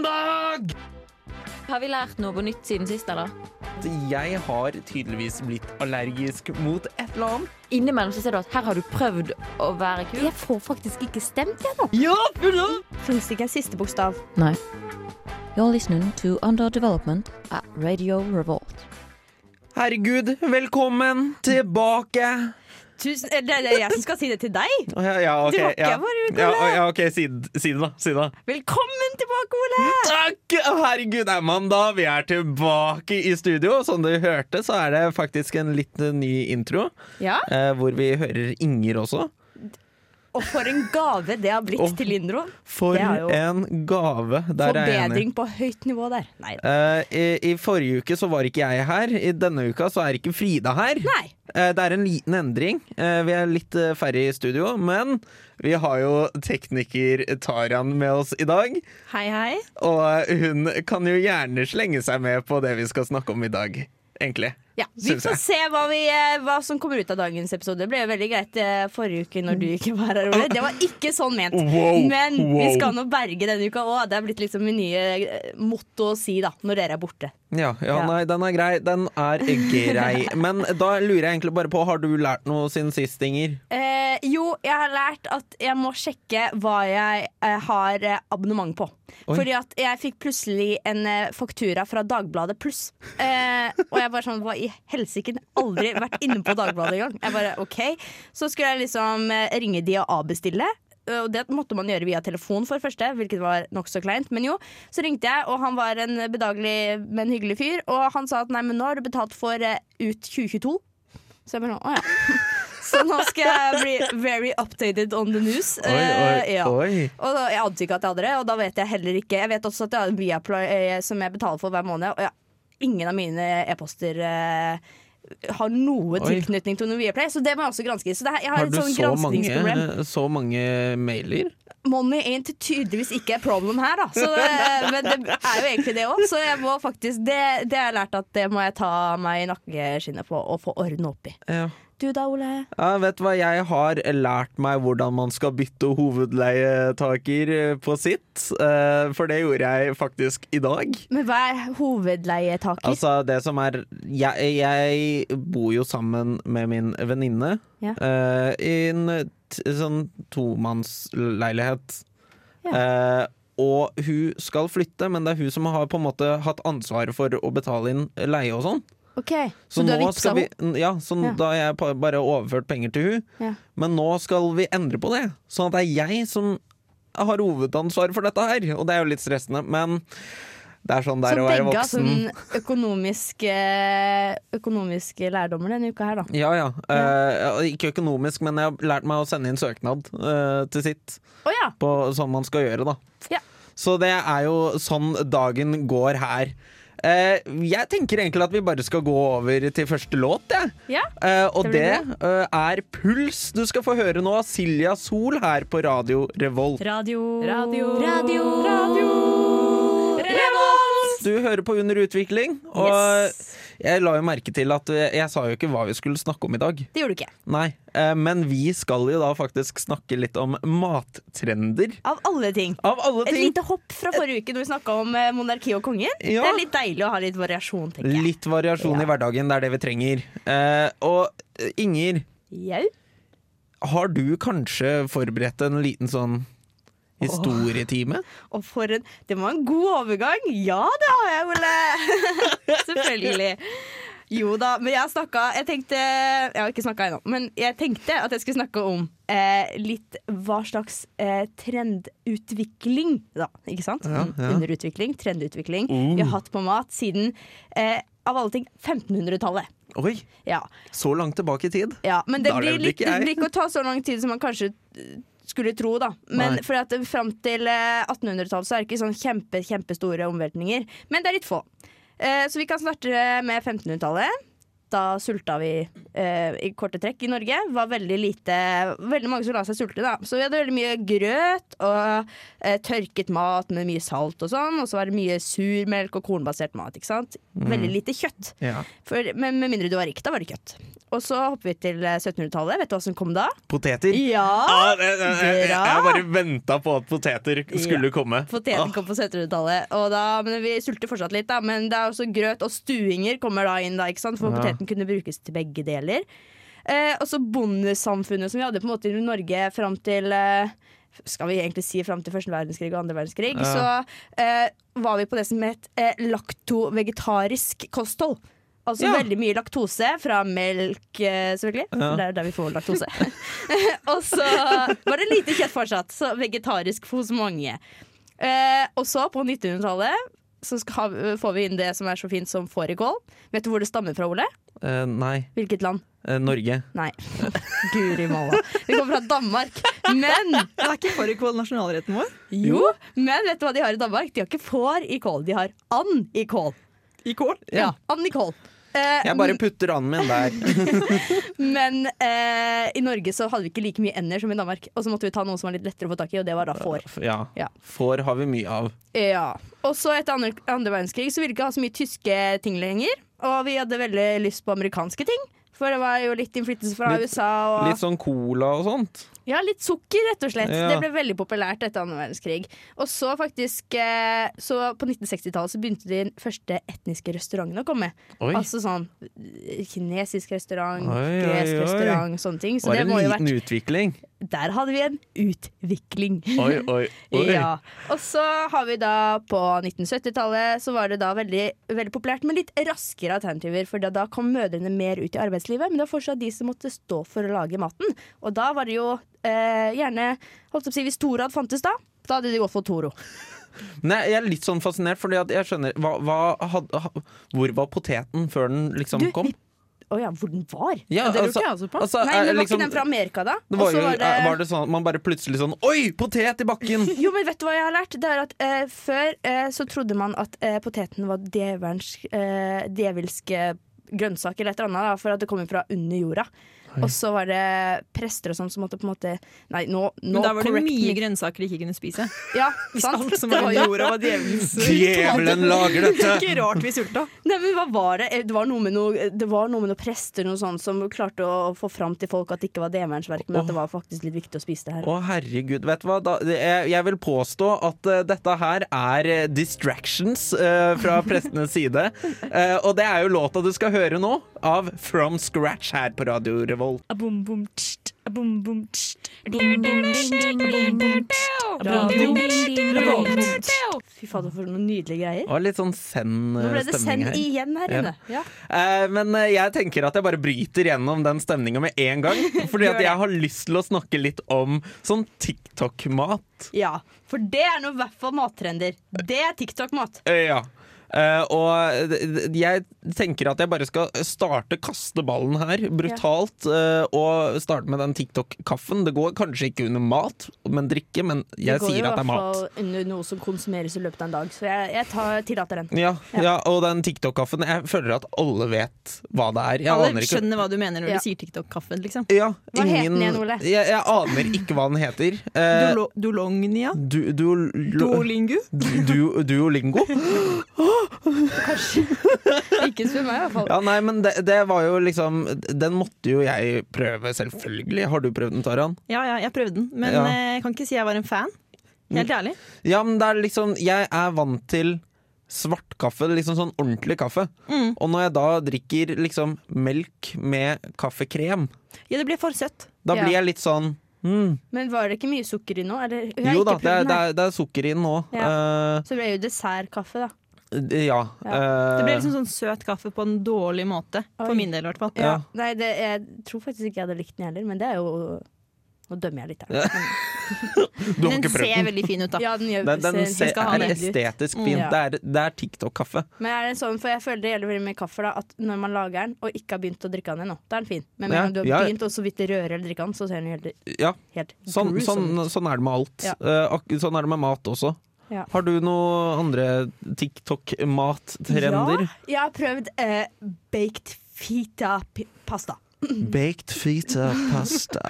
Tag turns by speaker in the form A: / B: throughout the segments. A: mandag!
B: Har vi lært noe på nytt siden sist, eller?
A: At Jeg har tydeligvis blitt allergisk mot et eller annet.
B: Innimellom så ser du at her har du prøvd å være kul.
C: Jeg får faktisk ikke stemt, jeg nå.
A: Ja, fulla!
C: Fins det ikke en siste bokstav?
B: Nei. You're listening to Under Development at Radio Revolt.
A: Herregud, velkommen tilbake.
C: Tusen, eh, det er jeg som skal si det til deg.
A: Ja, ja, ok.
C: Tilbake,
A: Ja.
C: hvor er du,
A: Ja,
C: Ole?
A: ja, ok, si den, si den da. Si den da.
C: Velkommen tilbake, Ole!
A: Takk! Herregud, det er mandag. Vi er tilbake i studio. Som du hørte, så er det faktisk en litt ny intro,
C: Ja,
A: eh, hvor vi hører Inger også.
C: Og for en gave det har blitt
A: Åh.
C: til Lindro.
A: For
C: Det er jo
A: en gave. Der er jeg enig.
C: Forbedring på høyt nivå der. Nei.
A: Eh, i, I forrige uke så var ikke jeg her. I denne uka så er ikke Frida her.
C: Nei.
A: Eh, det er en liten endring. Eh, vi er litt eh, færre i studio, men vi har jo tekniker Taran med oss i dag.
C: Hei, hei.
A: Og hun kan jo gjerne slenge seg med på det vi skal snakke om i dag, egentlig.
C: Ja, vi
A: Syns
C: får
A: jeg.
C: se hva, vi, eh, hva som kommer ut av dagens episode. Det ble jo veldig greit eh, forrige uke når du ikke var her, Ole. Det var ikke sånn ment.
A: Wow,
C: Men vi
A: wow.
C: skal nå berge denne uka òg. Det er blitt liksom min nye eh, motto å si da, når dere er borte.
A: Ja, ja,
C: Ja.
A: nei, den er grei. Den er grei. Men da lurer jeg egentlig bare på, har du lært noe siden sist, Inger?
C: Eh, jo, jeg har lært at jeg må sjekke hva jeg eh, har eh, abonnement på.
A: Oi.
C: Fordi at jeg fikk plutselig en eh, faktura fra Dagbladet Pluss. Eh, og jeg bare sånn Hva i helsike? Aldri vært inne på Dagbladet engang. Jeg bare OK. Så skulle jeg liksom eh, ringe de og avbestille. Eh, Og det måtte man gjøre via telefon, for det første, hvilket var nokså kleint. Men jo, så ringte jeg, og han var en bedagelig, men hyggelig fyr. Og han sa at nei, men nå har du betalt for eh, ut 2022. Så jeg bare sånn, å ja. Så nå skal jeg bli very updated on the news. Eh, ja.
A: oi.
C: Og da, Jeg ante ikke at jeg hadde det, og da vet jeg heller ikke Jeg vet også at jeg har en Viaplay eh, som jeg betaler for hver måned, og jeg, ingen av mine e-poster eh, har noe
A: Oi.
C: tilknytning til noe Viaplay, så det må jeg også granske. Så det, her- jeg har,
A: Har
C: et
A: du
C: sånn
A: så
C: granskingsproblem.
A: mange, så mange mailer?
C: Money ain't tydeligvis ikke et problem her, da. Så, eh, men det er jo egentlig det òg, så jeg må faktisk det, det har jeg lært at det må jeg ta meg i nakkeskinnet på og få ordne opp i.
A: Ja.
C: Du da, Ole?
A: Ja, vet du hva, jeg har lært meg hvordan man skal bytte hovedleietaker på sitt. eh, For det gjorde jeg faktisk i dag.
C: Men hva er hovedleietaker?
A: Altså, det som er Jeg, jeg bor jo sammen med min venninne
C: Ja.
A: eh, i en t sånn tomannsleilighet. Eh, og hun skal flytte, men det er hun som har på en måte hatt ansvaret for å betale inn leie og sånn.
C: ok, Så, du har
A: nå
C: vippsa
A: skal vi,
C: henne?
A: ja, så
C: Ja.
A: da har jeg pa- bare overført penger til hun
C: Ja.
A: Men nå skal vi endre på det, sånn at det er jeg som har hovedansvaret for dette her. Og det er jo litt stressende, men det er sånn det
C: Så
A: er å være
C: begge har
A: voksen.
C: sånn økonomiske, økonomiske lærdommer denne uka her, da.
A: Ja, ja. Eh, ikke økonomisk, men jeg har lært meg å sende inn søknad eh, til sitt.
C: Å ja!
A: På sånn man skal gjøre, da.
C: Ja.
A: Så det er jo sånn dagen går her. Eh, jeg tenker egentlig at vi bare skal gå over til første låt, jeg.
C: Ja.
A: Eh, og
C: Det
A: det,
C: blir
A: eh, er Puls du skal få høre nå av Silja Sol her på Radio Revolt.
C: Radio
B: Radio.
C: Radio. Revolt!
A: Du hører på Under utvikling, og
C: Yes.
A: jeg la jo merke til at jeg, jeg sa jo ikke hva vi skulle snakke om i dag.
C: Det gjorde du ikke.
A: Nei, eh, men vi skal jo da faktisk snakke litt om mattrender.
C: Av alle ting.
A: Av alle
C: Et
A: ting!
C: lite hopp fra forrige uke når vi snakka om eh, monarki og konger.
A: Ja.
C: Det er litt deilig å ha litt variasjon, tenker jeg.
A: Litt variasjon i hverdagen, det er det vi trenger. Eh, og eh, Inger,
C: Jau.
A: har du kanskje forberedt en liten sånn historietime?
C: Og for en Det var en god overgang! Ja, det har jeg, Ole! Selvfølgelig. Jo da, men jeg snakka Jeg tenkte Jeg har ikke snakka ennå, men jeg tenkte at jeg skulle snakke om eh, litt hva slags eh, trendutvikling, da. Ikke sant? Mm,
A: Ja, ja. Uh.
C: Underutvikling, trendutvikling. Vi har hatt på mat siden, eh, av alle ting, 1500-tallet.
A: Oi,
C: Ja.
A: så langt tilbake i tid?
C: Ja, men det
A: Da er det
C: blir,
A: vel
C: litt,
A: ikke
C: det
A: jeg.
C: blir ikke å ta så lang tid som man kanskje eh, skulle tro, da. Men
A: Nei.
C: for at eh, fram til eh, 1800-tallet så er det ikke sånn kjempe, kjempestore omveltninger. Men det er litt få. Eh, Så vi kan starte med 1500-tallet. da sulta vi eh, i korte trekk i Norge. Var veldig lite Veldig mange som la seg sulte, da. Så vi hadde veldig mye grøt og eh, tørket mat med mye salt og sånn. Og så var det mye surmelk og kornbasert mat, ikke sant.
A: Mm.
C: Veldig lite kjøtt.
A: Ja.
C: For, men med mindre du var rik, da var det kjøtt. Og så hopper vi til eh, 1700-tallet. Vet du hva som kom da?
A: Poteter.
C: Ja!
A: Ah, jeg, jeg, jeg, jeg bare venta på at poteter skulle
C: Ja.
A: komme.
C: Poteten
A: Ah.
C: kom på 1700-tallet, og da- men vi sulter fortsatt litt. da Men det er også grøt og stuinger kommer da inn, da, ikke sant? for
A: Ja.
C: poteten kunne brukes til begge deler. Eh, og så bondesamfunnet som vi hadde på en måte i Norge fram til eh, Skal vi egentlig si fram til første verdenskrig og andre verdenskrig,
A: Ja.
C: så eh, var vi på det som het eh, lakto-vegetarisk kosthold. Altså
A: Ja.
C: veldig mye laktose fra melk, eh, selvfølgelig.
A: Ja.
C: Det er der vi får laktose. Og så var det lite kjøtt fortsatt, så vegetarisk hos mange. Eh, og så på 1900-tallet så skal, ha- får vi inn det som er så fint som fårikål. Vet du hvor det stammer fra, Ole?
A: Eh, nei.
C: Hvilket land?
A: Eh, Norge.
C: Nei. Guri malla. Vi kommer fra Danmark. Men
D: Det er ikke fårikål nasjonalretten vår?
C: jo, men vet du hva de har i Danmark? De har ikke får i kål, de har and i kål.
D: I kål?
C: Ja, and i kål. Eh,
A: Jeg bare putter anden min der.
C: Men eh, i Norge så hadde vi ikke like mye ender som i Danmark. Og så måtte vi ta noe som var litt lettere å få tak i, og det var da får.
A: Ja.
C: Ja.
A: Får har vi mye av.
C: Ja. Og så etter andre, andre verdenskrig så ville vi ikke ha så mye tyske ting lenger. Og vi hadde veldig lyst på amerikanske ting. For det var jo litt innflytelse fra
A: Litt-
C: USA. Og,
A: Litt sånn cola og sånt.
C: Ja, litt sukker, rett og slett.
A: Ja.
C: Det ble veldig populært etter andre verdenskrig. Og så faktisk eh, Så på 1960-tallet så begynte de første etniske restaurantene å komme.
A: Oi.
C: Altså sånn eh, kinesisk restaurant,
A: Oi, oi,
C: gresk
A: oi.
C: restaurant, sånne ting. Så
A: var
C: det
A: en
C: må jo
A: liten
C: vært
A: utvikling.
C: Der hadde vi en utvikling.
A: Oi, oi, oi.
C: Ja. Og så har vi da på 1970-tallet så var det da veldig, veldig populært med litt raskere alternativer. For da, da kom mødrene mer ut i arbeidslivet, men det var fortsatt de som måtte stå for å lage maten. Og da var det jo eh, gjerne holdt på å si, Hvis Torad fantes da, da hadde de gått for Toro.
A: Nei, jeg er litt sånn fascinert, fordi at jeg skjønner hva, hva hadde, ha- Hvor var poteten før den liksom
C: Du,
A: kom?
C: vi- Å ja, hvor den var?
A: Ja,
D: det lurer ikke jeg også på.
A: altså,
C: Nei,
A: er
C: men Var
A: liksom-
C: ikke den fra Amerika, da?
A: det var,
C: Og så
A: jo, var, det... sånn at man bare plutselig sånn Oi, potet i bakken!
C: Jo, men vet du hva jeg har lært? Det er at eh, Før eh, så trodde man at eh, poteten var djevelens, eh, djevelske grønnsaker eller et eller annet, da, for at det kommer fra under jorda. Og så var det prester og sånn som måtte på en måte Nei, nå, nå
D: Men da var det
C: correct
D: mye
C: me.
D: grønnsaker de ikke kunne spise.
C: Ja,
D: Hvis
C: sant?
D: alt som
C: Det
D: var
C: jo-
D: under jorda var djevelens
A: Djevelen lager
D: Det er
A: dette!
D: ikke rart vi sulta.
C: Nei, men hva var det? Eh, Det var noe med noe, det var noe, med noe prester noe sånt, som klarte å få fram til folk at det ikke var djevelens verk, men at det var faktisk litt viktig å spise det her.
A: Å, herregud. Vet du hva? Da, det- jeg, jeg vil påstå at eh, dette her er eh, distractions eh, fra prestenes side. Eh, og det er jo låta du skal høre nå, av From Scratch her på Radio Revolt.
C: Fy fader, for noen nydelige greier.
A: Det var litt sånn
C: Nå ble det
A: send-stemning
C: send
A: her.
C: igjen her
A: Ja.
C: inne. Ja.
A: Eh, men eh, jeg tenker at jeg bare bryter gjennom den stemninga med en gang. Fordi
C: Gjør
A: at
C: det.
A: jeg har lyst til å snakke litt om sånn TikTok-mat.
C: Ja, for det er nå i hvert fall mattrender. Det er TikTok-mat.
A: Eh, ja. Eh, og d- d- jeg tenker at jeg bare skal starte kasteballen her, brutalt. eh, og starte med den TikTok-kaffen. Det går kanskje ikke under mat, men drikke, men jeg sier at det er mat.
C: Det går jo i hvert fall under noe som konsumeres i løpet av en dag, så jeg, jeg tar, tillater den.
A: Ja, ja. og den TikTok-kaffen. Jeg føler at alle vet hva det er. Jeg
D: Alle
A: aner ikke
D: skjønner hva du mener når
C: Ja.
D: du sier TikTok-kaffen, liksom.
A: ja,
C: Hva het den
A: ingen-
C: igjen, Ole?
A: Jeg, jeg aner ikke hva den heter. Eh,
D: Dolo- Dolognia?
A: Du, du, du,
D: Duolingo?
A: du, duolingo?
C: Ikke spør meg, i hvert fall.
A: Ja, nei, men det, det var jo liksom Den måtte jo jeg prøve, selvfølgelig. Har du prøvd den, Taran?
D: Ja, ja, jeg prøvde den, men
A: Ja. Mm.
D: eh, jeg kan ikke si jeg var en fan. Helt ærlig.
A: Ja, men det er liksom Jeg er vant til svartkaffe, liksom sånn ordentlig kaffe.
D: Mm.
A: Og når jeg da drikker liksom melk med kaffekrem,
D: Ja, det ble for søtt.
A: da
C: Ja.
A: blir jeg litt sånn hmm,
C: Men var det ikke mye sukker i nå? Eller, jeg har
A: Jo da, det
C: ikke prøvd
A: er,
C: den
A: det,
C: her.
A: er, det er sukker i den nå. Eh,
C: Så ble det jo dessertkaffe, da.
A: ja.
D: Det ble
A: eh,
D: liksom sånn søt kaffe på en dårlig måte. For
C: Oi.
D: min del, i hvert fall.
A: Ja.
C: Nei, det, jeg tror faktisk ikke jeg hadde likt den heller, men det er jo Nå dømmer jeg litt her. Men-
A: du har
D: Den
A: ikke prøvd
D: ser
A: den.
D: veldig fin ut, da.
C: Ja, den gjør
A: eh, Den, den
C: ser-
A: ser,
D: skal ha
A: er
D: den
C: nydelig ut.
A: estetisk
D: Mm.
A: fin.
C: Ja.
A: Det er, det er TikTok-kaffe.
C: Men er det sånn, for jeg føler det gjelder veldig mye kaffe da, at når man lager den og ikke har begynt å drikke den ennå, da er den fin. Men med
A: Ja,
C: en gang du har
A: ja.
C: begynt å så vidt røre eller drikke den, så ser den helt,
A: Ja,
C: helt
A: Sånn, sånn,
C: gruesome ut.
A: sånn er det med alt.
C: Ja.
A: Eh, ak- sånn er det med mat også.
C: Ja.
A: Har du noen andre TikTok-mattrender?
C: Ja, jeg har prøvd eh, baked fita pi- pasta.
A: Baked fita pasta.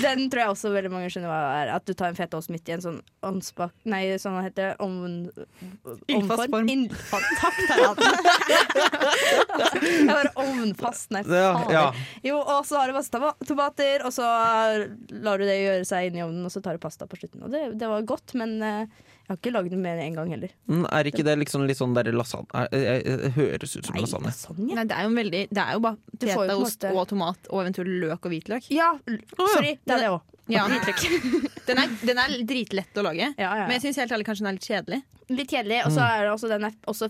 C: Den tror jeg også veldig mange skjønner hva er. At du tar en fetaost midt i en sånn ovnsbak... Nei, sånn hva heter det? Ovn...
D: Ildfast form.
C: Ildfast. Takk, Terje. jeg var ovnfast, nei,
A: Ja,
C: fader.
A: ja.
C: Jo, og så har du masse toma- tomater, og så lar du det gjøre seg inn i ovnen, og så tar du pasta på slutten. Og det, det var godt, men eh, jeg har ikke lagd det mer enn én gang heller.
A: Mm, Er ikke det liksom litt sånn der lasagne er- er- er- Høres ut som lasagne.
C: lasagne?
D: Nei, det er jo en veldig Det er jo bare
C: Du får jo på en
D: fetaost
C: måte-
D: og tomat og eventuelt løk og hvitløk.
C: Ja, l- sorry. Det er det òg.
D: Ja. den, er, den er dritlett å lage.
C: Ja, ja,
D: Men
C: ja.
D: jeg syns helt ærlig kanskje den er litt kjedelig.
C: Litt kjedelig. Og så
A: Mm.
C: er det også, den er også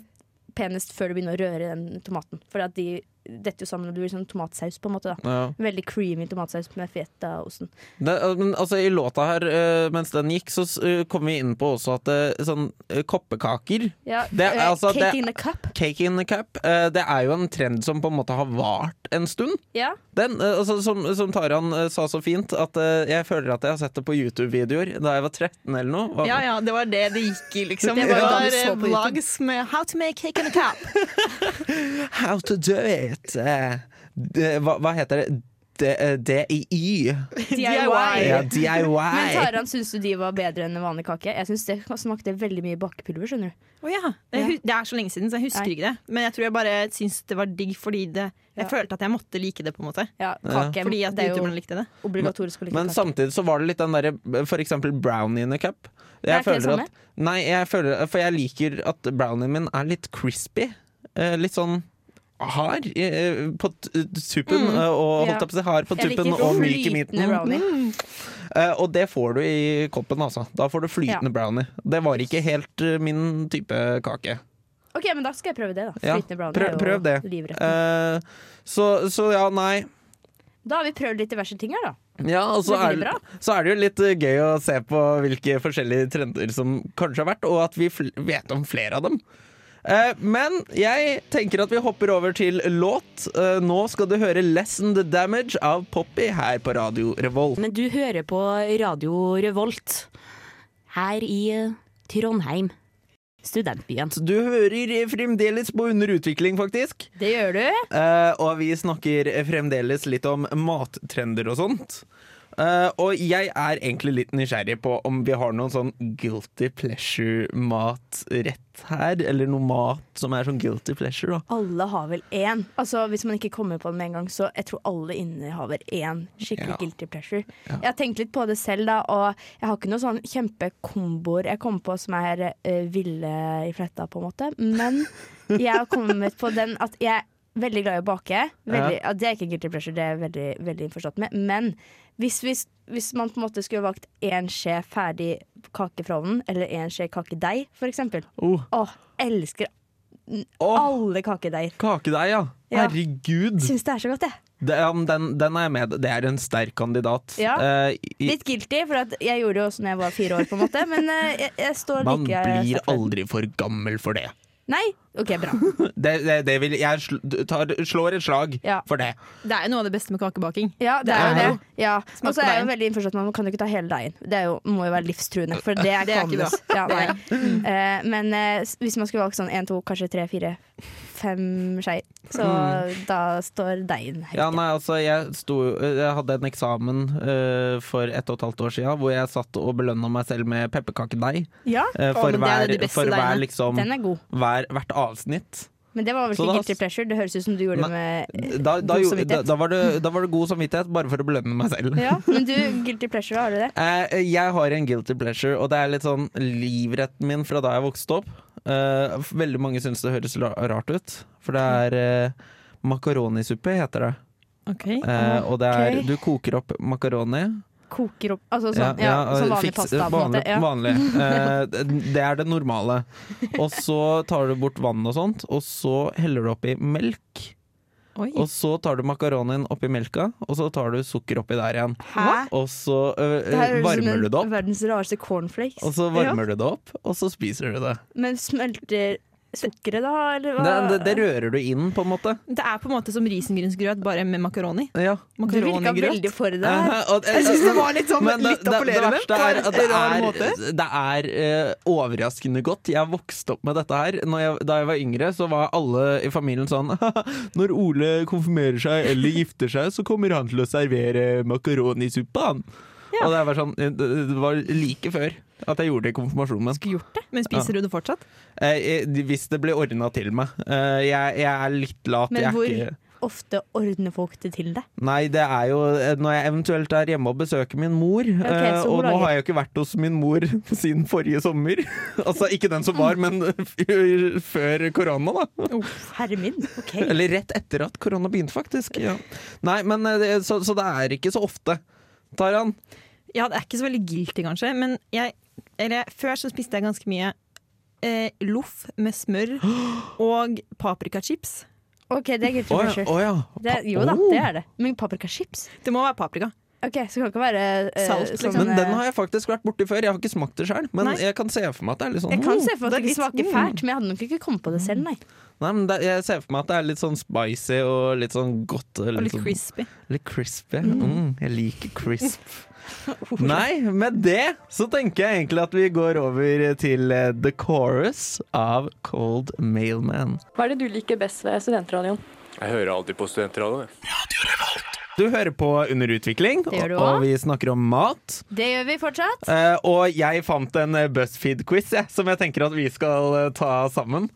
C: penest før du begynner å røre den tomaten. For at de detter jo sammen og det blir sånn tomatsaus, på en måte. da
A: Ja.
C: Veldig creamy tomatsaus med fetaosten.
A: Det, men altså, I låta her, eh, mens den gikk, så s- eh, kom vi inn på også at eh, sånn eh, koppekaker
C: Ja,
A: Det er
C: eh,
A: altså-
C: Cake
A: det-
C: in a cup.
A: Cake in a cup. eh, Det er jo en trend som på en måte har vart en stund.
C: Ja.
A: Den, eh, altså, som, som Taran eh, sa så fint, at eh, jeg føler at jeg har sett det på YouTube-videoer da jeg var 13 eller noe. Hva-
D: Ja, ja, det var det det gikk i, liksom.
C: Det var
D: Det
C: jo da
D: var,
C: vi så på
D: eh,
C: YouTube.
D: vlogs med How to make cake in a cup.
A: How to do it. Eh, det- hva, hva heter det? D- eh, DIY.
C: DIY.
A: Ja,
C: Men
A: DIY.
C: Taran, syns du de var bedre enn en vanlig kake? Jeg syns det smakte veldig mye bakepulver, skjønner du.
D: Å ja. Jeg hu- Det er så lenge siden, så jeg husker
C: Nei.
D: ikke det. Men jeg tror jeg bare syns det var digg fordi det Jeg
C: Ja.
D: følte at jeg måtte like det, på en måte.
C: Ja, kake
D: Fordi at
C: det er jo
D: youtuberne likte det.
C: obligatorisk å like
A: Men
C: kake.
A: samtidig så var det litt den derre for eksempel brownie in a cup.
C: er
A: Jeg
C: ikke det
A: føler at, nei, jeg føler, for jeg liker at brownien min er litt crispy. Eh, litt sånn hard eh, på t- tuppen, eh, og
C: Mm. Ja.
A: holdt jeg på å si hard på
C: Jeg liker
A: tuppen og myk i
C: flytende
A: midten.
C: brownie.
A: Eh, og det får du i koppen, altså. Da får du flytende brownie. Det var ikke helt eh, min type kake.
C: Ok, men da skal jeg prøve det, da.
A: Ja,
C: Flytende brownie
A: prøv-
C: er jo
A: prøv det.
C: livretten.
A: Eh, så, så ja, nei.
C: Da har vi prøvd litt diverse ting her, da.
A: Ja, og så
C: Veldig
A: er,
C: bra.
A: så er det jo litt eh, gøy å se på hvilke forskjellige trender som kanskje har vært, og at vi fl vet om flere av dem. Eh, men jeg tenker at vi hopper over til låt. Eh, nå skal du høre 'Lessen the Damage' av Poppy her på Radio Revolt.
E: Men du hører på Radio Revolt her i eh, Trondheim, studentbyen.
A: Du hører fremdeles på Under utvikling, faktisk.
C: Det gjør du.
A: Eh, og vi snakker fremdeles litt om mattrender og sånt. Eh, og jeg er egentlig litt nysgjerrig på om vi har noen sånn guilty pleasure-matrett her. Eller noe mat som er sånn guilty pleasure, da.
C: Alle har vel én. Altså, hvis man ikke kommer på den med en gang, så jeg tror alle inne har vel én skikkelig
A: Ja.
C: guilty pleasure. Jeg har tenkt litt på det selv, da, og jeg har ikke noen sånn kjempekomboer jeg kommer på som er eh, ville i fletta, på en måte. Men jeg har kommet på den at jeg er veldig glad i å bake. Veldig, ja. det er ikke guilty pleasure, det er jeg veldig, veldig innforstått med. Men hvis, hvis, hvis man på en måte skulle valgt én skje ferdig kake fra ovnen, eller én skje kakedeig, for eksempel.
A: Oh.
C: Åh, elsker
A: Åh,
C: alle kakedeiger.
A: kakedeig, ja!
C: Ja.
A: Herregud!
C: Syns det er så godt, jeg.
A: Det, ja, men den, den er jeg med. Det er en sterk kandidat.
C: Ja.
A: Eh, i-
C: Litt guilty, for at jeg gjorde det jo også da jeg var fire år, på en måte. Men eh, jeg, jeg står
A: man
C: like
A: blir
C: sterkt for det.
A: aldri for gammel for det.
C: Nei? OK, bra.
A: det, det, det vil, jeg sl tar, slår et slag
C: Ja.
A: for det.
D: Det er jo noe av det beste med kakebaking.
C: Ja, det er jo
A: er
C: det. Ja.
D: Smak
C: Og så
D: på
C: er jeg jo
D: deigen.
C: veldig innforstått med at man kan jo ikke ta hele deigen. Det er jo, må jo være livstruende, for det er
D: Det er Mm. ikke
C: kanus. Ja, nei. Eh, men eh, s- hvis man skulle valgt sånn én, to, kanskje tre, fire, fem skeier, så da står deigen høyt.
A: Mm. Ja, nei, altså, jeg, sto, jeg hadde en eksamen eh, for ett og et halvt år siden hvor jeg satt og belønna meg selv med pepperkakedeig.
C: Ja,
A: eh,
D: Å,
A: for
D: men det er
A: hver,
D: det de beste
A: for hver,
D: deigene.
A: liksom,
C: den er god.
A: hver, hvert avsnitt.
C: Men det var vel
A: Så
C: ikke
A: da-
C: guilty pleasure. Det høres ut som du gjorde
A: Nei,
C: det med
A: Da, da,
C: God
A: gjorde- da,
C: samvittighet.
A: da, var det, da var det god samvittighet, bare for å belønne meg selv.
C: Ja, men du, guilty pleasure, har du det?
A: Eh, jeg har en guilty pleasure, og det er litt sånn livretten min fra da jeg vokste opp. Eh, veldig mange syns det høres la- rart ut, for det er eh, makaroni-suppe heter det. Eh, og det er
C: Ok.
A: Du koker opp makaroni.
C: Koker opp Altså sånn, ja,
A: og
C: sånn vanlig
A: fiks-
C: pasta, på
A: Vanlig,
C: en måte. Ja.
A: vanlig. Eh, det- det er det normale. Og så tar du bort vann og sånt, og så heller du oppi melk.
D: Oi.
A: Og så tar du makaronien oppi melka, og så tar du sukker oppi der igjen.
C: Hæ?
A: Og så eh,
C: Det her høres ut som
A: varmer du det
C: en
A: opp,
C: Verdens rareste cornflakes.
A: og så varmer du det opp, og så spiser du det.
C: Men smelter Sukkeret, da? Eller hva?
A: Det, det, det rører du inn, på en måte.
D: Det er på en måte som risengrynsgrøt, bare med makaroni.
A: Ja.
C: du virka veldig for det.
A: Eh, og-
D: Jeg syns det var litt sånn
A: Men
D: litt appellerende.
A: Det, det verste er at
D: på en rar
A: det
D: måte.
A: er, det er eh, overraskende godt. Jeg vokste opp med dette her. Når jeg, da jeg var yngre, så var alle i familien sånn Når Ole konfirmerer seg eller gifter seg, så kommer han til å servere makaronisuppe, han. Og det, var sånn, det det var like før at jeg gjorde det i konfirmasjonen min.
D: Skulle gjort det. Men spiser du det fortsatt?
A: Eh, jeg- hvis det ble ordna til meg. Eh, jeg, jeg er litt lat.
C: Men
A: jeg er
C: hvor-
A: ikke
C: Ofte ordner folk det til deg.
A: Nei, det er jo eh, når jeg eventuelt er hjemme og besøker min mor. eh,
C: så
A: og
C: hvor
A: nå
C: lager-
A: har jeg jo ikke vært hos min mor siden forrige sommer. altså ikke den som var, men f- før korona, da.
C: Herre min, OK.
A: Eller rett etter at korona begynte, faktisk. Ja. Nei, men eh, det- så, så det er ikke så ofte. Taran,
D: Ja, det er ikke så veldig guilty, kanskje, men jeg, eller, før så spiste jeg ganske mye eh, loff med smør og paprikachips.
C: Ok, Det er guilty
A: Å ja,
C: pleasure.
A: å ja.
C: Det, er- jo da,
A: Oh.
C: det er det. Men paprikachips?
D: Det må være paprika.
C: Ok, Så kan det ikke være eh,
D: Salt, liksom.
C: sånn,
A: Men
C: eh,
A: den har jeg faktisk vært borti før. Jeg har ikke smakt det sjøl, men
D: Nei.
A: jeg kan se for meg at det er litt sånn
C: Jeg kan
A: mm.
C: se for meg at
D: det er
C: det ikke
D: litt-
C: smaker fælt, men jeg hadde nok ikke kommet på det selv, nei.
A: Nei, men det, Jeg ser for meg at det er litt sånn spicy og litt sånn godt.
D: Og litt
A: sånn,
C: liksom
D: crispy.
A: Litt crispy. Mm, jeg liker crisp. Nei, med det så tenker jeg egentlig at vi går over til eh, The Chorus av Cold Mailman.
F: Hva er det du liker best ved studentradioen?
G: Jeg hører alltid på studentradioen. jeg.
A: Du hører på Underutvikling,
C: Det gjør du
A: og, og
C: også.
A: vi snakker om mat.
C: Det gjør vi fortsatt.
A: Eh, og jeg fant en eh, BuzzFeed-quiz jeg, som jeg tenker at vi skal eh, ta sammen.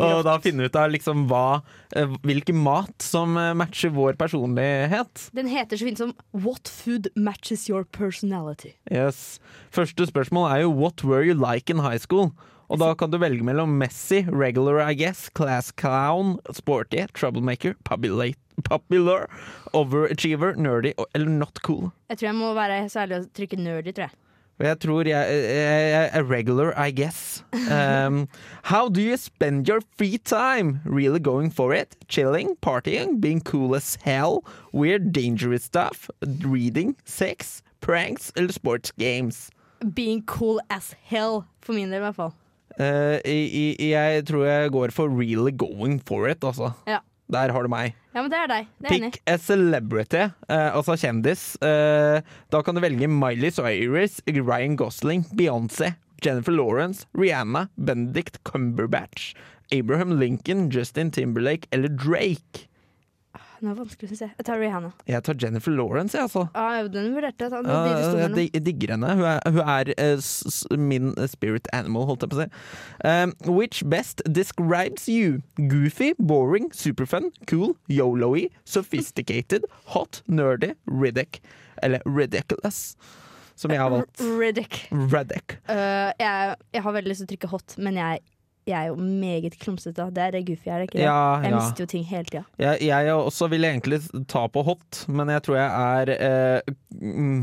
A: Og da finne ut av liksom hva, eh, hvilken mat som eh, matcher vår personlighet.
C: Den heter så fint som What food matches your personality?
A: Yes. Første spørsmål er jo What were you like in high school? Og da kan du velge mellom Messi, regular I guess, class clown, sporty, troublemaker, popula- popular, overachiever, nerdy og- eller not cool.
C: Jeg tror jeg må være så ærlig å trykke nerdy, tror jeg.
A: Og jeg tror jeg, jeg, jeg er regular, I guess. Um, how do you spend your free time? Really going for it? Chilling, partying, being cool as hell, weird, dangerous stuff, reading, sex, pranks eller sports games?
C: Being cool as hell, for min del i hvert fall.
A: Eh, i, i, jeg tror jeg går for really going for it, altså.
C: Ja,
A: Der har du meg.
C: ja men det er deg. Det er jeg enig.
A: Pick a celebrity, eh, altså kjendis. Eh, da kan du velge Miley Cyrus, Ryan Gosling, Beyoncé, Jennifer Lawrence, Rihanna, Benedict Cumberbatch, Abraham Lincoln, Justin Timberlake eller Drake.
C: i. Ah, Nå er det vanskelig, synes jeg. Jeg tar Rihanna.
A: Jeg tar Jennifer Lawrence, jeg, altså.
C: Ah, Ja, den vurderte jeg. da. Det var
A: Ah,
C: de du sto
A: Ja, Jeg
C: mellom.
A: dig- digger henne. Hun er, hun er eh, s s min spirit animal, holdt jeg på å si. Um, which best describes you? Goofy, boring, superfun, cool, yoloy, sophisticated, hot, nerdy, riddick. Eller ridiculous, som jeg har valgt.
C: Riddick.
A: Raddick.
C: Øh, jeg, jeg har veldig lyst til å trykke hot, men jeg, jeg er jo meget klumsete. Det er det goofy, er det ikke det?
A: Ja,
C: Jeg
A: ja.
C: mister jo ting hele tida.
A: Jeg, jeg også vil egentlig ta på hot, men jeg tror jeg er eh, mm,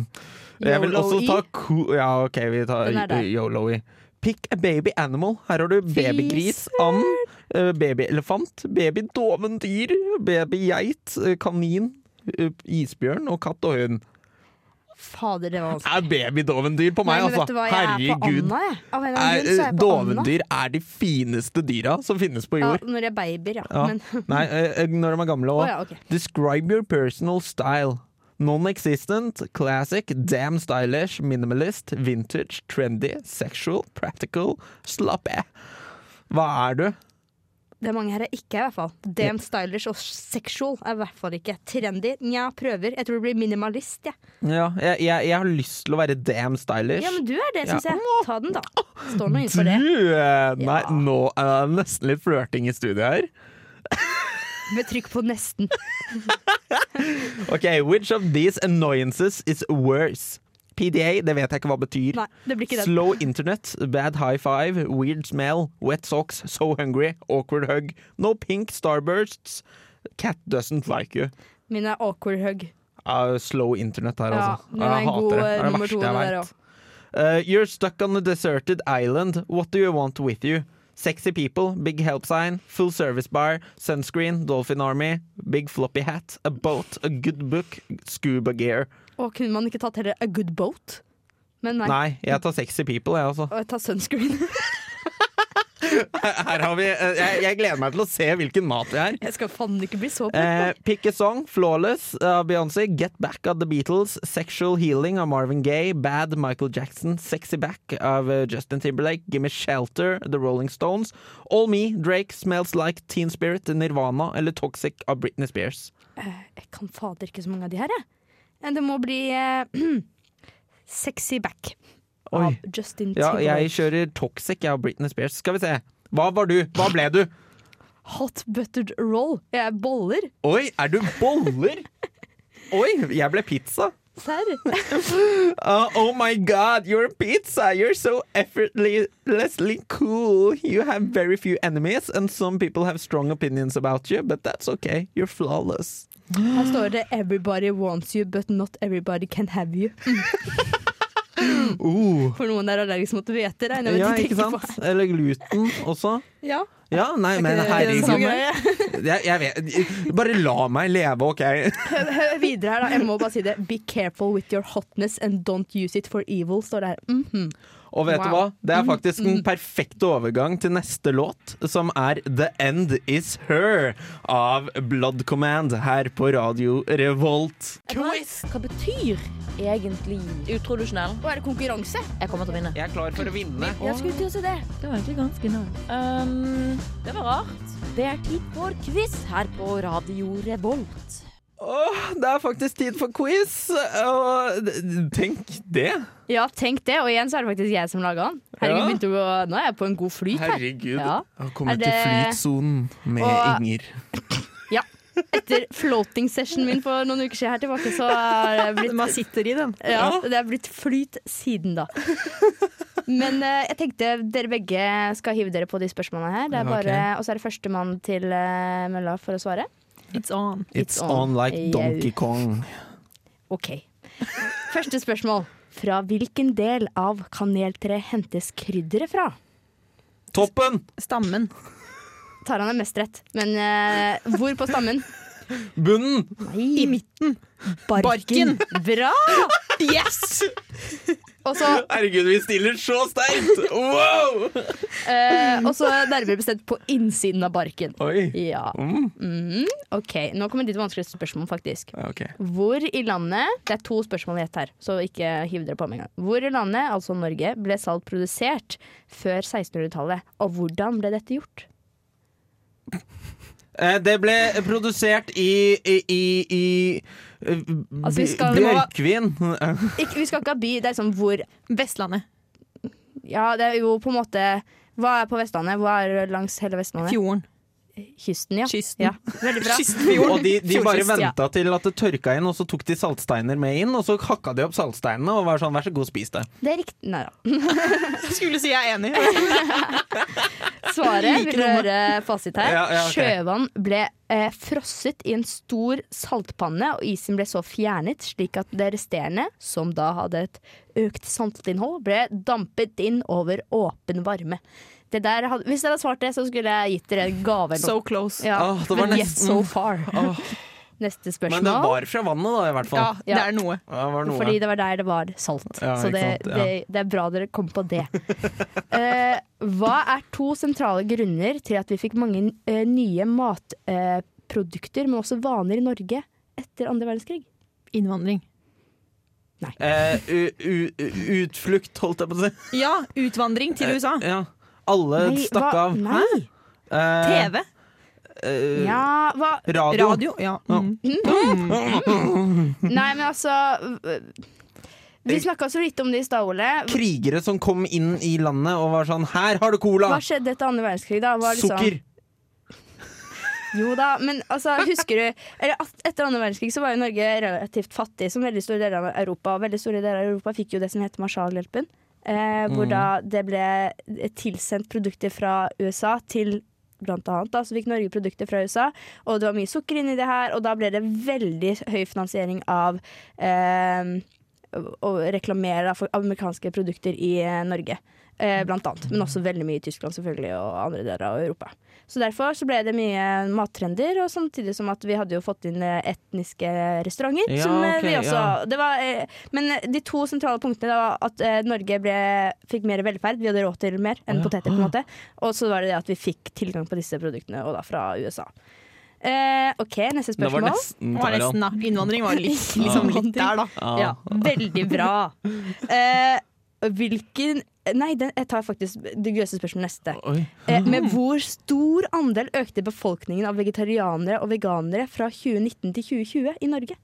A: Jeg vil også
C: Yolo-y.
A: ta cool Ja, OK, vi tar
C: Den er der.
A: yolo-y. Pick a baby animal. Her har du babygris, and, eh, babyelefant, babydoven dyr, babygeit, eh, kanin, eh, isbjørn og katt og hund.
C: Fader, det var vanskelig.
A: Det er babydoven dyr på meg,
C: Altså. Nei, men vet
A: altså!
C: du hva, jeg er på
A: Herregud.
C: Anna, jeg. Av en eller annen
A: Er,
C: grunn
A: eh,
C: så er jeg på Anna.
A: dovendyr er de fineste dyra som finnes på
C: Ja,
A: jord.
C: når jeg er babyer, ja.
A: Ja.
C: Men,
A: Nei, eh, når de er gamle
C: Å
A: òg.
C: ja, ok.
A: Describe your personal style. Non-existent, classic, damn stylish, minimalist, vintage, trendy, sexual, practical, slappe. Hva er du?
C: Det er mange her jeg ikke er, i hvert fall. Damn stylish og sexual er i hvert fall ikke. Trendy, nja, prøver. Jeg tror det blir minimalist, jeg.
A: Ja, jeg, jeg, jeg har lyst til å være damn stylish.
C: Ja, men du er det,
A: Ja.
C: syns jeg. Ta den, da. Står nå
A: du
C: innenfor det.
A: eh, Nei,
C: Ja.
A: nå er det nesten litt flørting i studio her.
C: Med trykk på nesten.
A: Ok, Which of these annoyances is worse? PDA, det vet jeg ikke hva betyr.
C: Nei, det blir ikke den.
A: Slow internet, bad high five, weird smell, wet socks, so hungry, awkward hug, no pink starbursts, cat doesn't like you.
C: Min er awkward hug.
A: Ah, slow internet her,
C: Ja,
A: altså.
C: den
A: Ah,
C: er
A: jeg
C: en god
A: hater det. Det
C: eh,
A: er det
C: nummer to.
A: verste jeg
C: Den der
A: vet.
C: også.
A: Uh, you're stuck on a deserted island. What do you want with you? Sexy people, big help sign, full service bar, sunscreen, dolphin army, big floppy hat, a boat, a good book, scuba gear.
C: Å, kunne man ikke tatt heller A Good Boat? Men nei.
A: Nei, jeg tar sexy people, jeg, altså.
C: Og jeg tar sunscreen.
A: Her har vi, eh, jeg, jeg gleder meg til å se hvilken mat det er.
C: Jeg skal faen ikke bli så
A: Eh, pick a song, Flawless av Beyoncé, Get Back av The Beatles, Sexual Healing av Marvin Gaye, Bad Michael Jackson, Sexy Back av eh, Justin Timberlake, Gimme Shelter, The Rolling Stones, All Me, Drake, Smells Like Teen Spirit, Nirvana eller Toxic av Britney Spears.
C: Eh, Jeg kan fader ikke så mange av de her, jeg. Eh, Det må bli eh, Sexy Back av
A: Oi.
C: Justin
A: Ah, Ja,
C: Timberlake.
A: jeg kjører Toxic av Britney Spears. Skal vi se. Hva var du? Hva ble du?
C: Hot buttered roll. Jeg er boller.
A: Oi, er du boller? Oi, jeg ble pizza.
C: Serr.
A: Uh, oh my god, you're pizza! You're so effortlessly cool. You have very few enemies, and some people have strong opinions about you, but that's okay. You're flawless.
C: Her står det 'Everybody wants you, but not everybody can have you'.
A: Uh,
C: For noen er allergisk mot hvete, regner jeg med
A: ja,
C: de
A: ikke
C: tenker på.
A: sant? Eller gluten også.
C: Ja,
A: Ja, nei, men
C: det samme
A: herregud.
C: greie?
A: Jeg, jeg vet Bare la meg leve, OK?
C: Videre her, da. Jeg må bare si det. Be careful with your hotness and don't use it for evil, står det her. Mhm.
A: Og vet du hva? Det
C: Mm,
A: er faktisk den perfekte overgang til neste låt, som er The End Is Her av Blood Command her på Radio Revolt.
E: Hva betyr egentlig Utrodusjonell.
C: Og er det konkurranse?
E: Jeg kommer til å vinne.
A: Jeg er klar for å vinne.
E: Jeg skulle til å si det.
B: Det var egentlig ganske nice.
E: Um, det var rart. Det er tid for quiz her på Radio Revolt.
A: Åh, det er faktisk tid for quiz! Og d- tenk det!
C: Ja, tenk det. Og igjen så er det faktisk jeg som laga den. Herregud,
A: Ja.
C: begynte å, nå er jeg på en god flyt her.
A: Herregud.
C: Ja.
A: Jeg har kommet
C: Er
A: til
C: det-
A: flytsonen med
C: Og-
A: Inger.
C: Etter floating session min for noen uker siden her tilbake, så er det blitt
D: Man sitter i den.
C: Ja, det er blitt flyt siden da. Men eh, jeg tenkte dere begge skal hive dere på de spørsmålene her. Det er bare, Og så er det førstemann til eh, mølla for å svare.
D: It's on.
A: It's on like Donkey Kong.
C: OK. Første spørsmål. Fra hvilken del av kaneltreet hentes krydderet fra?
A: Toppen!
D: Stammen.
C: Taran er mest rett, men eh, hvor på stammen?
A: Bunnen!
C: I midten. Barken. Bra!
D: Yes!
C: Og så
A: Herregud, vi stiller så sterkt! Wow!
C: eh, og så nærmere bestemt på innsiden av barken.
A: Oi.
C: Ja. Mhm. OK, nå kommer ditt vanskeligste spørsmål, faktisk.
A: Mm. Ja, Ok.
C: Hvor i landet Det er to spørsmål i ett her, så ikke hiv dere på med en gang. Hvor i landet, altså Norge, ble salt produsert før 1600-tallet, og hvordan ble dette gjort?
A: Eh, Det ble produsert i i, i, i eh,
C: Altså, vi skal-
A: bj- Bjørkvin.
C: Ikke, vi skal ikke ha by, det er liksom hvor
D: Vestlandet.
C: Ja, det er jo på en måte Hva er på Vestlandet? Hva er langs hele Vestlandet?
D: Fjorden.
C: Kysten, ja.
D: Kysten.
C: ja. Veldig bra.
A: Og de, de bare
C: Fjordkyst, ja.
A: venta til at det tørka inn, og så tok de saltsteiner med inn, og så hakka de opp saltsteinene og var sånn vær så god, spis det.
C: Det er riktig Nei da.
D: Skulle si jeg er enig.
C: Svaret, vil du høre fasit her?
A: Ja, ja, ok.
C: Sjøvann ble eh, frosset i en stor saltpanne, og isen ble så fjernet slik at det resterende, som da hadde et økt saltinnhold, ble dampet inn over åpen varme. Det der hadde, hvis dere hadde svart det, så skulle jeg gitt dere en gave. eller noe.
D: So close.
C: ja,
A: Åh, det var
C: men
A: nesten.
C: yet so far.
A: Åh.
C: Neste
A: Men det
C: spørsmål.
A: var fra vannet, da, i hvert fall.
D: Ja, det er noe.
A: Ja, det var noe.
C: Fordi det var der det var salt.
A: Ja,
C: så
A: ikke
C: det,
A: sant, ja.
C: det, det er bra dere kom på det. Eh, hva er to sentrale grunner til at vi fikk mange eh, nye matprodukter, men også vaner i Norge etter andre verdenskrig?
D: Innvandring.
A: Eh, u, u, u- utflukt, holdt jeg på å si.
D: Ja, utvandring til USA.
A: Eh, Ja. Alle stakk
C: hva-
A: av.
C: Nei.
A: Eh,
D: TV.
A: eh,
C: Ja, hva
A: radio.
D: Radio. Ja. Mm.
C: Nei, men altså øh,
A: Eh.
C: Vi snakka så lite om det i stad, Ole.
A: Krigere som kom inn i landet og var sånn Her har du cola!
C: Hva skjedde etter andre verdenskrig, da? Hva liksom-
A: Sukker!
C: Jo da, men altså, husker du eller, at Etter andre verdenskrig så var jo Norge relativt fattig, som veldig store deler av Europa. Og veldig store deler av Europa fikk jo det som heter Marshallhjelpen. Eh, hvor
A: Mm.
C: da det ble tilsendt produkter fra USA til blant annet, da, så fikk Norge produkter fra USA, og det var mye sukker inni det her, og da ble det veldig høy finansiering av eh, å å reklamere da, for amerikanske produkter i eh, Norge. eh, blant annet. Men også veldig mye i Tyskland selvfølgelig, og andre deler av Europa. Så derfor så ble det mye mattrender, og samtidig som at vi hadde jo fått inn eh, etniske restauranter.
A: Ja,
C: som eh,
A: ok,
C: vi også,
A: ja.
C: det var, eh, men de to sentrale punktene det var at eh, Norge ble, fikk mer velferd, vi hadde råd til mer enn
A: Ja.
C: poteter. på en måte. Og så var det det at vi fikk tilgang på disse produktene, og da fra USA. Eh, OK, neste
A: Det var
C: spørsmål.
A: nesten
D: Det var
A: Taran.
D: nesten, da. Innvandring var litt, liksom, litt der, da.
A: Ja.
C: Ja, veldig bra. Eh, hvilken Nei, den, jeg tar faktisk det gøyeste spørsmålet neste.
A: Oi.
C: Eh,
A: Mm.
C: med hvor stor andel økte befolkningen av vegetarianere og veganere fra 2019 til 2020 i Norge?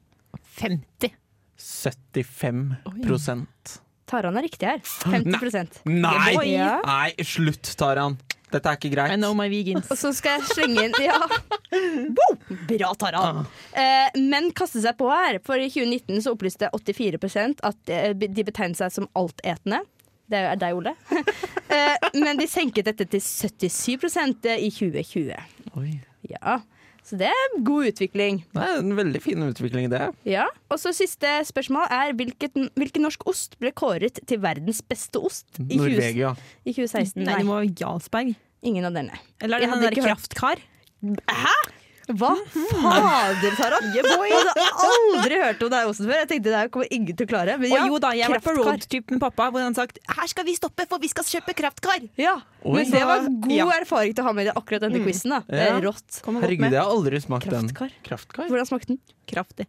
D: 50.
A: 75 prosent.
C: Taran er riktig her. 50
A: Nei!
C: Ja.
A: Nei, slutt, Taran. Dette er ikke
D: I
A: greit.
D: know my vegans.
C: Og så skal jeg slenge inn Ja.
D: Bra, Taran.
C: Eh, men kaste seg på her. For i 2019 så opplyste 84 at eh, de betegnet seg som altetende. Det er jo- er deg, Ole. eh, men de senket dette til 77 i 2020.
A: Oi.
C: Ja, så det er god utvikling.
A: Det er en veldig fin utvikling, det.
C: Ja. Og så siste spørsmål er hvilket, hvilken norsk ost ble kåret til verdens beste ost i, 20,
A: Norvegia.
C: i 2016?
D: Nei,
C: Nei,
D: det må være Jarlsberg.
C: ingen av denne. Jeg
D: Eller er det den
C: hadde
D: der
C: ikke hørt-
D: kraftkar?
C: Hva fader, Sara? Jeg hadde aldri hørt om deg osten før. Jeg tenkte det her kommer ingen til å klare. Men
D: Å
C: ja,
D: jo da, jeg har vært på
C: kraftkar.
D: roadtrip med pappa, hvor han sagt 'her skal vi stoppe, for vi skal kjøpe kraftkar'.
C: Ja,
A: Oi.
C: men det var god
D: Ja.
C: erfaring til å ha med i akkurat denne quizen. Da. Det
A: Ja.
C: er rått.
A: Herregud, jeg har aldri smakt
C: Kraftkar.
A: den. Kraftkar?
C: Hvordan smakte den?
D: Kraftig.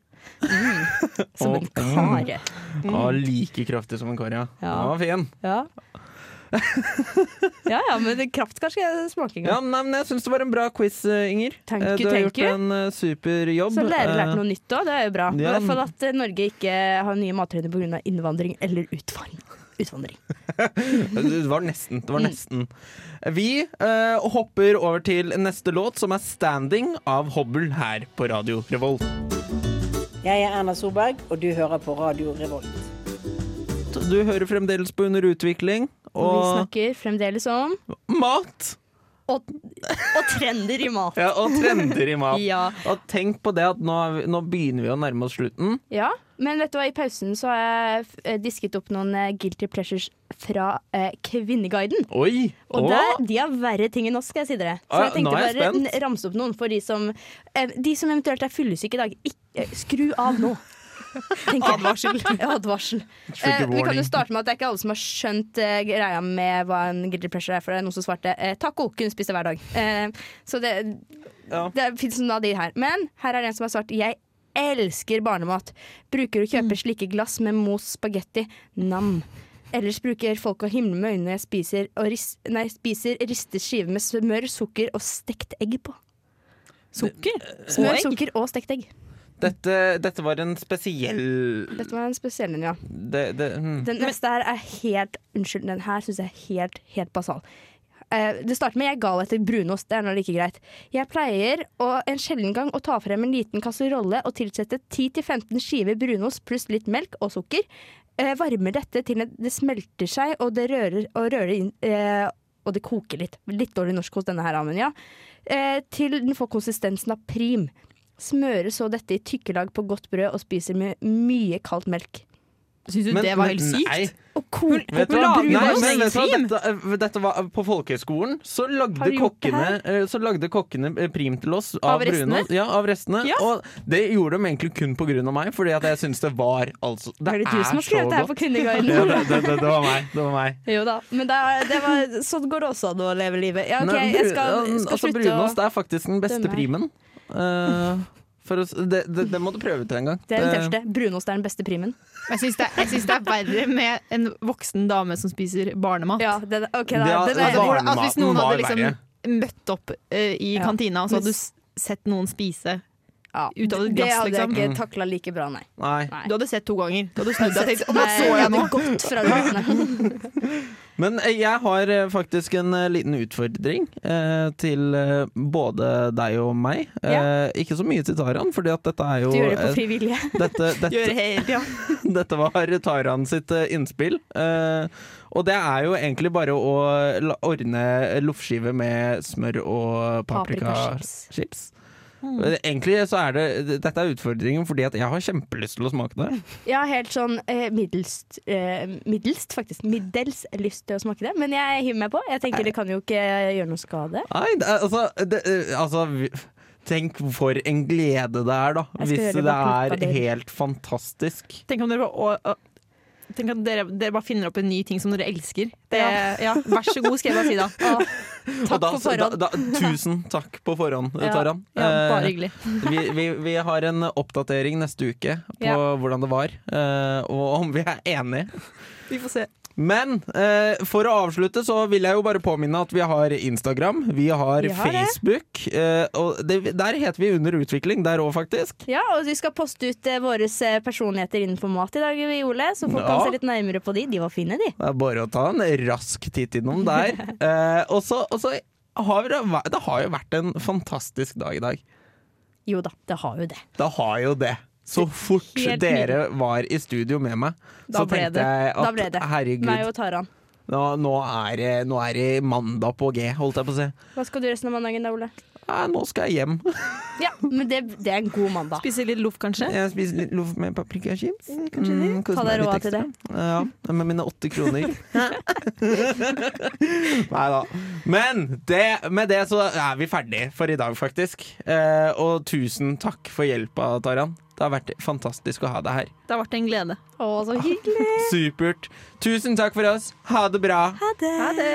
C: Som en
A: Å, mm.
C: kare.
A: Ja, like kraftig som en kar, ja. Den
C: Ja.
A: var fin.
C: Ja. ja ja, men kraftkar skal jeg smake en gang.
A: Ja, nei, men jeg syns det var en bra quiz, eh, Inger.
C: Thank
A: Eh,
C: you,
A: du har
C: thank
A: gjort
C: you.
A: en eh, super jobb.
C: Så har dere lært
A: Eh,
C: noe nytt òg, det er jo bra. I
A: Ja.
C: hvert fall at eh, Norge ikke har nye mattrender pga. innvandring eller utvandring. utvandring.
A: Det var nesten. Det var nesten. Vi eh, hopper over til neste låt, som er 'Standing' av Hobble her på Radio Revolt.
H: Jeg er Erna Solberg, og du hører på Radio Revolt.
A: Du hører fremdeles på Under utvikling
C: Og vi
A: og
C: snakker fremdeles om
A: mat.
C: og, og trender i mat.
A: Ja, og trender i mat.
C: Ja.
A: Og tenk på det at nå, er vi, nå begynner vi å nærme oss slutten.
C: ja. Men vet du hva, i pausen så har jeg eh, disket opp noen eh, guilty pleasures fra eh, Kvinneguiden.
A: Oi!
C: Og
A: Å,
C: der, de har verre ting enn oss, skal jeg si dere. Så
A: Ah,
C: jeg tenkte
A: nå er jeg
C: bare
A: spent.
C: n- ramse opp noen for de som, eh, de som eventuelt er fyllesyke i dag. Ikk- eh, skru av nå. Advarsel. Advarsel.
A: Trigger
C: Eh, vi kan
A: warning.
C: jo starte med at det er ikke alle som har skjønt eh, greia med hva en guilty pleasure er. For det er noen som svarte eh, taco kunne spise hver dag. Eh, så det,
A: Ja.
C: det fins noen av de her. Men her er det en som har svart jeg elsker barnemat. Bruker å kjøpe slike glass med mos spagetti. Nam. Ellers bruker folk å himle med øynene når jeg spiser, og ris nei, spiser ristet skive med smør, sukker og stekt egg på.
D: Sukker?
A: Eh,
C: Smør,
D: Og egg?
C: sukker og stekt egg.
A: Dette, dette var en spesiell
C: Dette var en spesiell en, ja.
A: det, det, hm.
C: Den neste her er helt Unnskyld, den her syns jeg er helt, helt basal. Eh, det starter med 'jeg er gal etter brunost'. Det er nå like greit. Jeg pleier å, en sjelden gang å ta frem en liten kasserolle og tilsette 10-15 skiver brunost pluss litt melk og sukker. Eh, varmer dette til det- det smelter seg, og det rører, og rører inn eh, Og det koker litt. Litt dårlig norsk hos denne her, men ja. Eh, til den får konsistensen av prim. Smører så dette i tykke lag på godt brød og spiser med mye kaldt melk.
D: Syns du
A: Men-
D: det var helt
A: men
D: sykt?
A: nei.
C: Og koke
A: Vet du hva? Nei,
D: Lager du
A: men vet du hva?
D: prim?
A: Dette, dette var eh, på folkehøyskolen. Så lagde
C: Har du gjort det
A: kokkene, eh, så lagde kokkene eh, prim til oss av,
C: Av restene?
A: brunost. Ja, av restene.
D: Ja.
A: Og det gjorde de egentlig kun på grunn av meg, fordi at jeg syns det var altså Det
C: Er
A: er,
C: det du som har
A: så
C: skrevet det her
A: godt.
C: på Kvinneguiden?
A: Ja, det, det, det, det var meg. Det var meg.
C: Jo da, men det er- det var, sånn går det også an å leve livet. Ja, ok,
A: Nei,
C: jeg
A: bru-
C: skal,
A: ja,
C: skal
A: altså,
C: slutte
A: brunost
C: å
A: er faktisk den beste
C: dømme her.
A: primen. Eh, for å, s- det, det, det må du prøve ut en gang.
C: Det er den
A: Eh,
C: tørste. Brunost er den beste primen.
D: Jeg syns det, jeg synes det er verre med en voksen dame som spiser barnemat.
C: Ja, den, ok,
A: Det
C: da,
A: er-
C: den
A: altså,
C: er,
D: Hvor- at hvis
A: Barnematen
D: noen
A: var
D: hadde liksom
A: verre.
D: møtt opp eh, i
C: Ja.
D: kantina, og så hadde
C: Men-
D: du s- sett noen spise
C: ja,
D: ut av et
C: det
D: glass,
C: hadde jeg
D: liksom.
A: Mm.
C: ikke takla like bra, nei.
A: Eh, Nei.
C: Nei.
D: Du hadde sett to ganger. Du hadde snudd deg og tenkt «Å, hva
C: Nei,
D: så jeg nå?'
C: hadde gått fra det glassene.
A: Men eh, jeg har eh, faktisk en eh, liten utfordring eh, til eh, både deg og meg. Eh, ikke så mye til Taran, fordi at dette er jo
C: Du gjør det på
A: eh,
C: frivillige.
A: dette, dette, dette var Taran sitt eh, innspill. Eh, og det er jo egentlig bare å la- ordne loffskive med smør og paprikachips.
C: Paprikachips.
D: Hmm.
A: Egentlig så er det Dette er utfordringen fordi at jeg har kjempelyst til å smake det.
C: Jeg har helt sånn eh, middelst, eh, middelst, faktisk. Middels lyst til å smake det. Men jeg hiver meg på. Jeg tenker det kan jo ikke gjøre noe skade.
A: Nei, det, er- altså, det, eh, altså vi- Tenk for en glede det er, da.
C: Jeg skal
A: Hvis
C: gjøre det
A: det
C: bak lukta
A: er
C: der.
A: helt fantastisk.
D: Tenk om dere bare, å, å, tenk at dere, dere bare finner opp en ny ting som dere elsker. Det, ja, vær så god, skal jeg bare si da. Å,
A: Og
D: takk
A: da-
D: for forhånd.
A: Da, da, tusen takk på forhånd,
D: Ja,
A: Taran.
D: Ja, bare
A: Eh,
D: hyggelig.
A: vi, vi, vi har en oppdatering neste uke på
D: Ja.
A: hvordan det var, eh, og om vi er enige.
D: Vi får se.
A: Men eh, for å avslutte så vil jeg jo bare påminne at vi har Instagram, vi har,
C: Vi har det.
A: Facebook. eh, og det, der heter vi Under utvikling, der òg, faktisk.
C: Ja, og vi skal poste ut eh, våre eh, personligheter innenfor mat i dag, vi, Ole. Så folk kan
A: Ja.
C: se litt nærmere på de. De var fine, de.
A: Det er bare å ta en rask titt innom der. Eh, og så og så har det, væ- det har jo vært en fantastisk dag i dag.
C: Jo da, det har jo det.
A: Det har jo det. Så fort
D: Helt
A: dere var i studio med meg,
D: Da
A: så
D: ble
A: tenkte
D: det.
A: jeg
C: Da ble
A: at
C: det. Meg
A: herregud,
C: og Taran.
A: nå, nå, er det, nå er det mandag på G, holdt jeg på å si.
C: Hva skal du resten av mandagen da, Ole?
A: Ja, nå skal jeg hjem.
C: Ja, men det, det er en god mandag.
D: Spise litt loff, kanskje.
A: Jeg spiser litt loff med paprikachips. Mm, kose
C: Ta deg
A: meg litt
C: råd til
A: ekstra. Ja, med mine åtte kroner. Nei da. Men det, med det så er vi ferdig for i dag, faktisk. Eh, og tusen takk for hjelpa, Taran. Det har vært fantastisk å ha deg her.
D: Det har vært en glede.
C: Å, så hyggelig.
A: Supert. Tusen takk for oss. Ha det bra.
D: Ha det!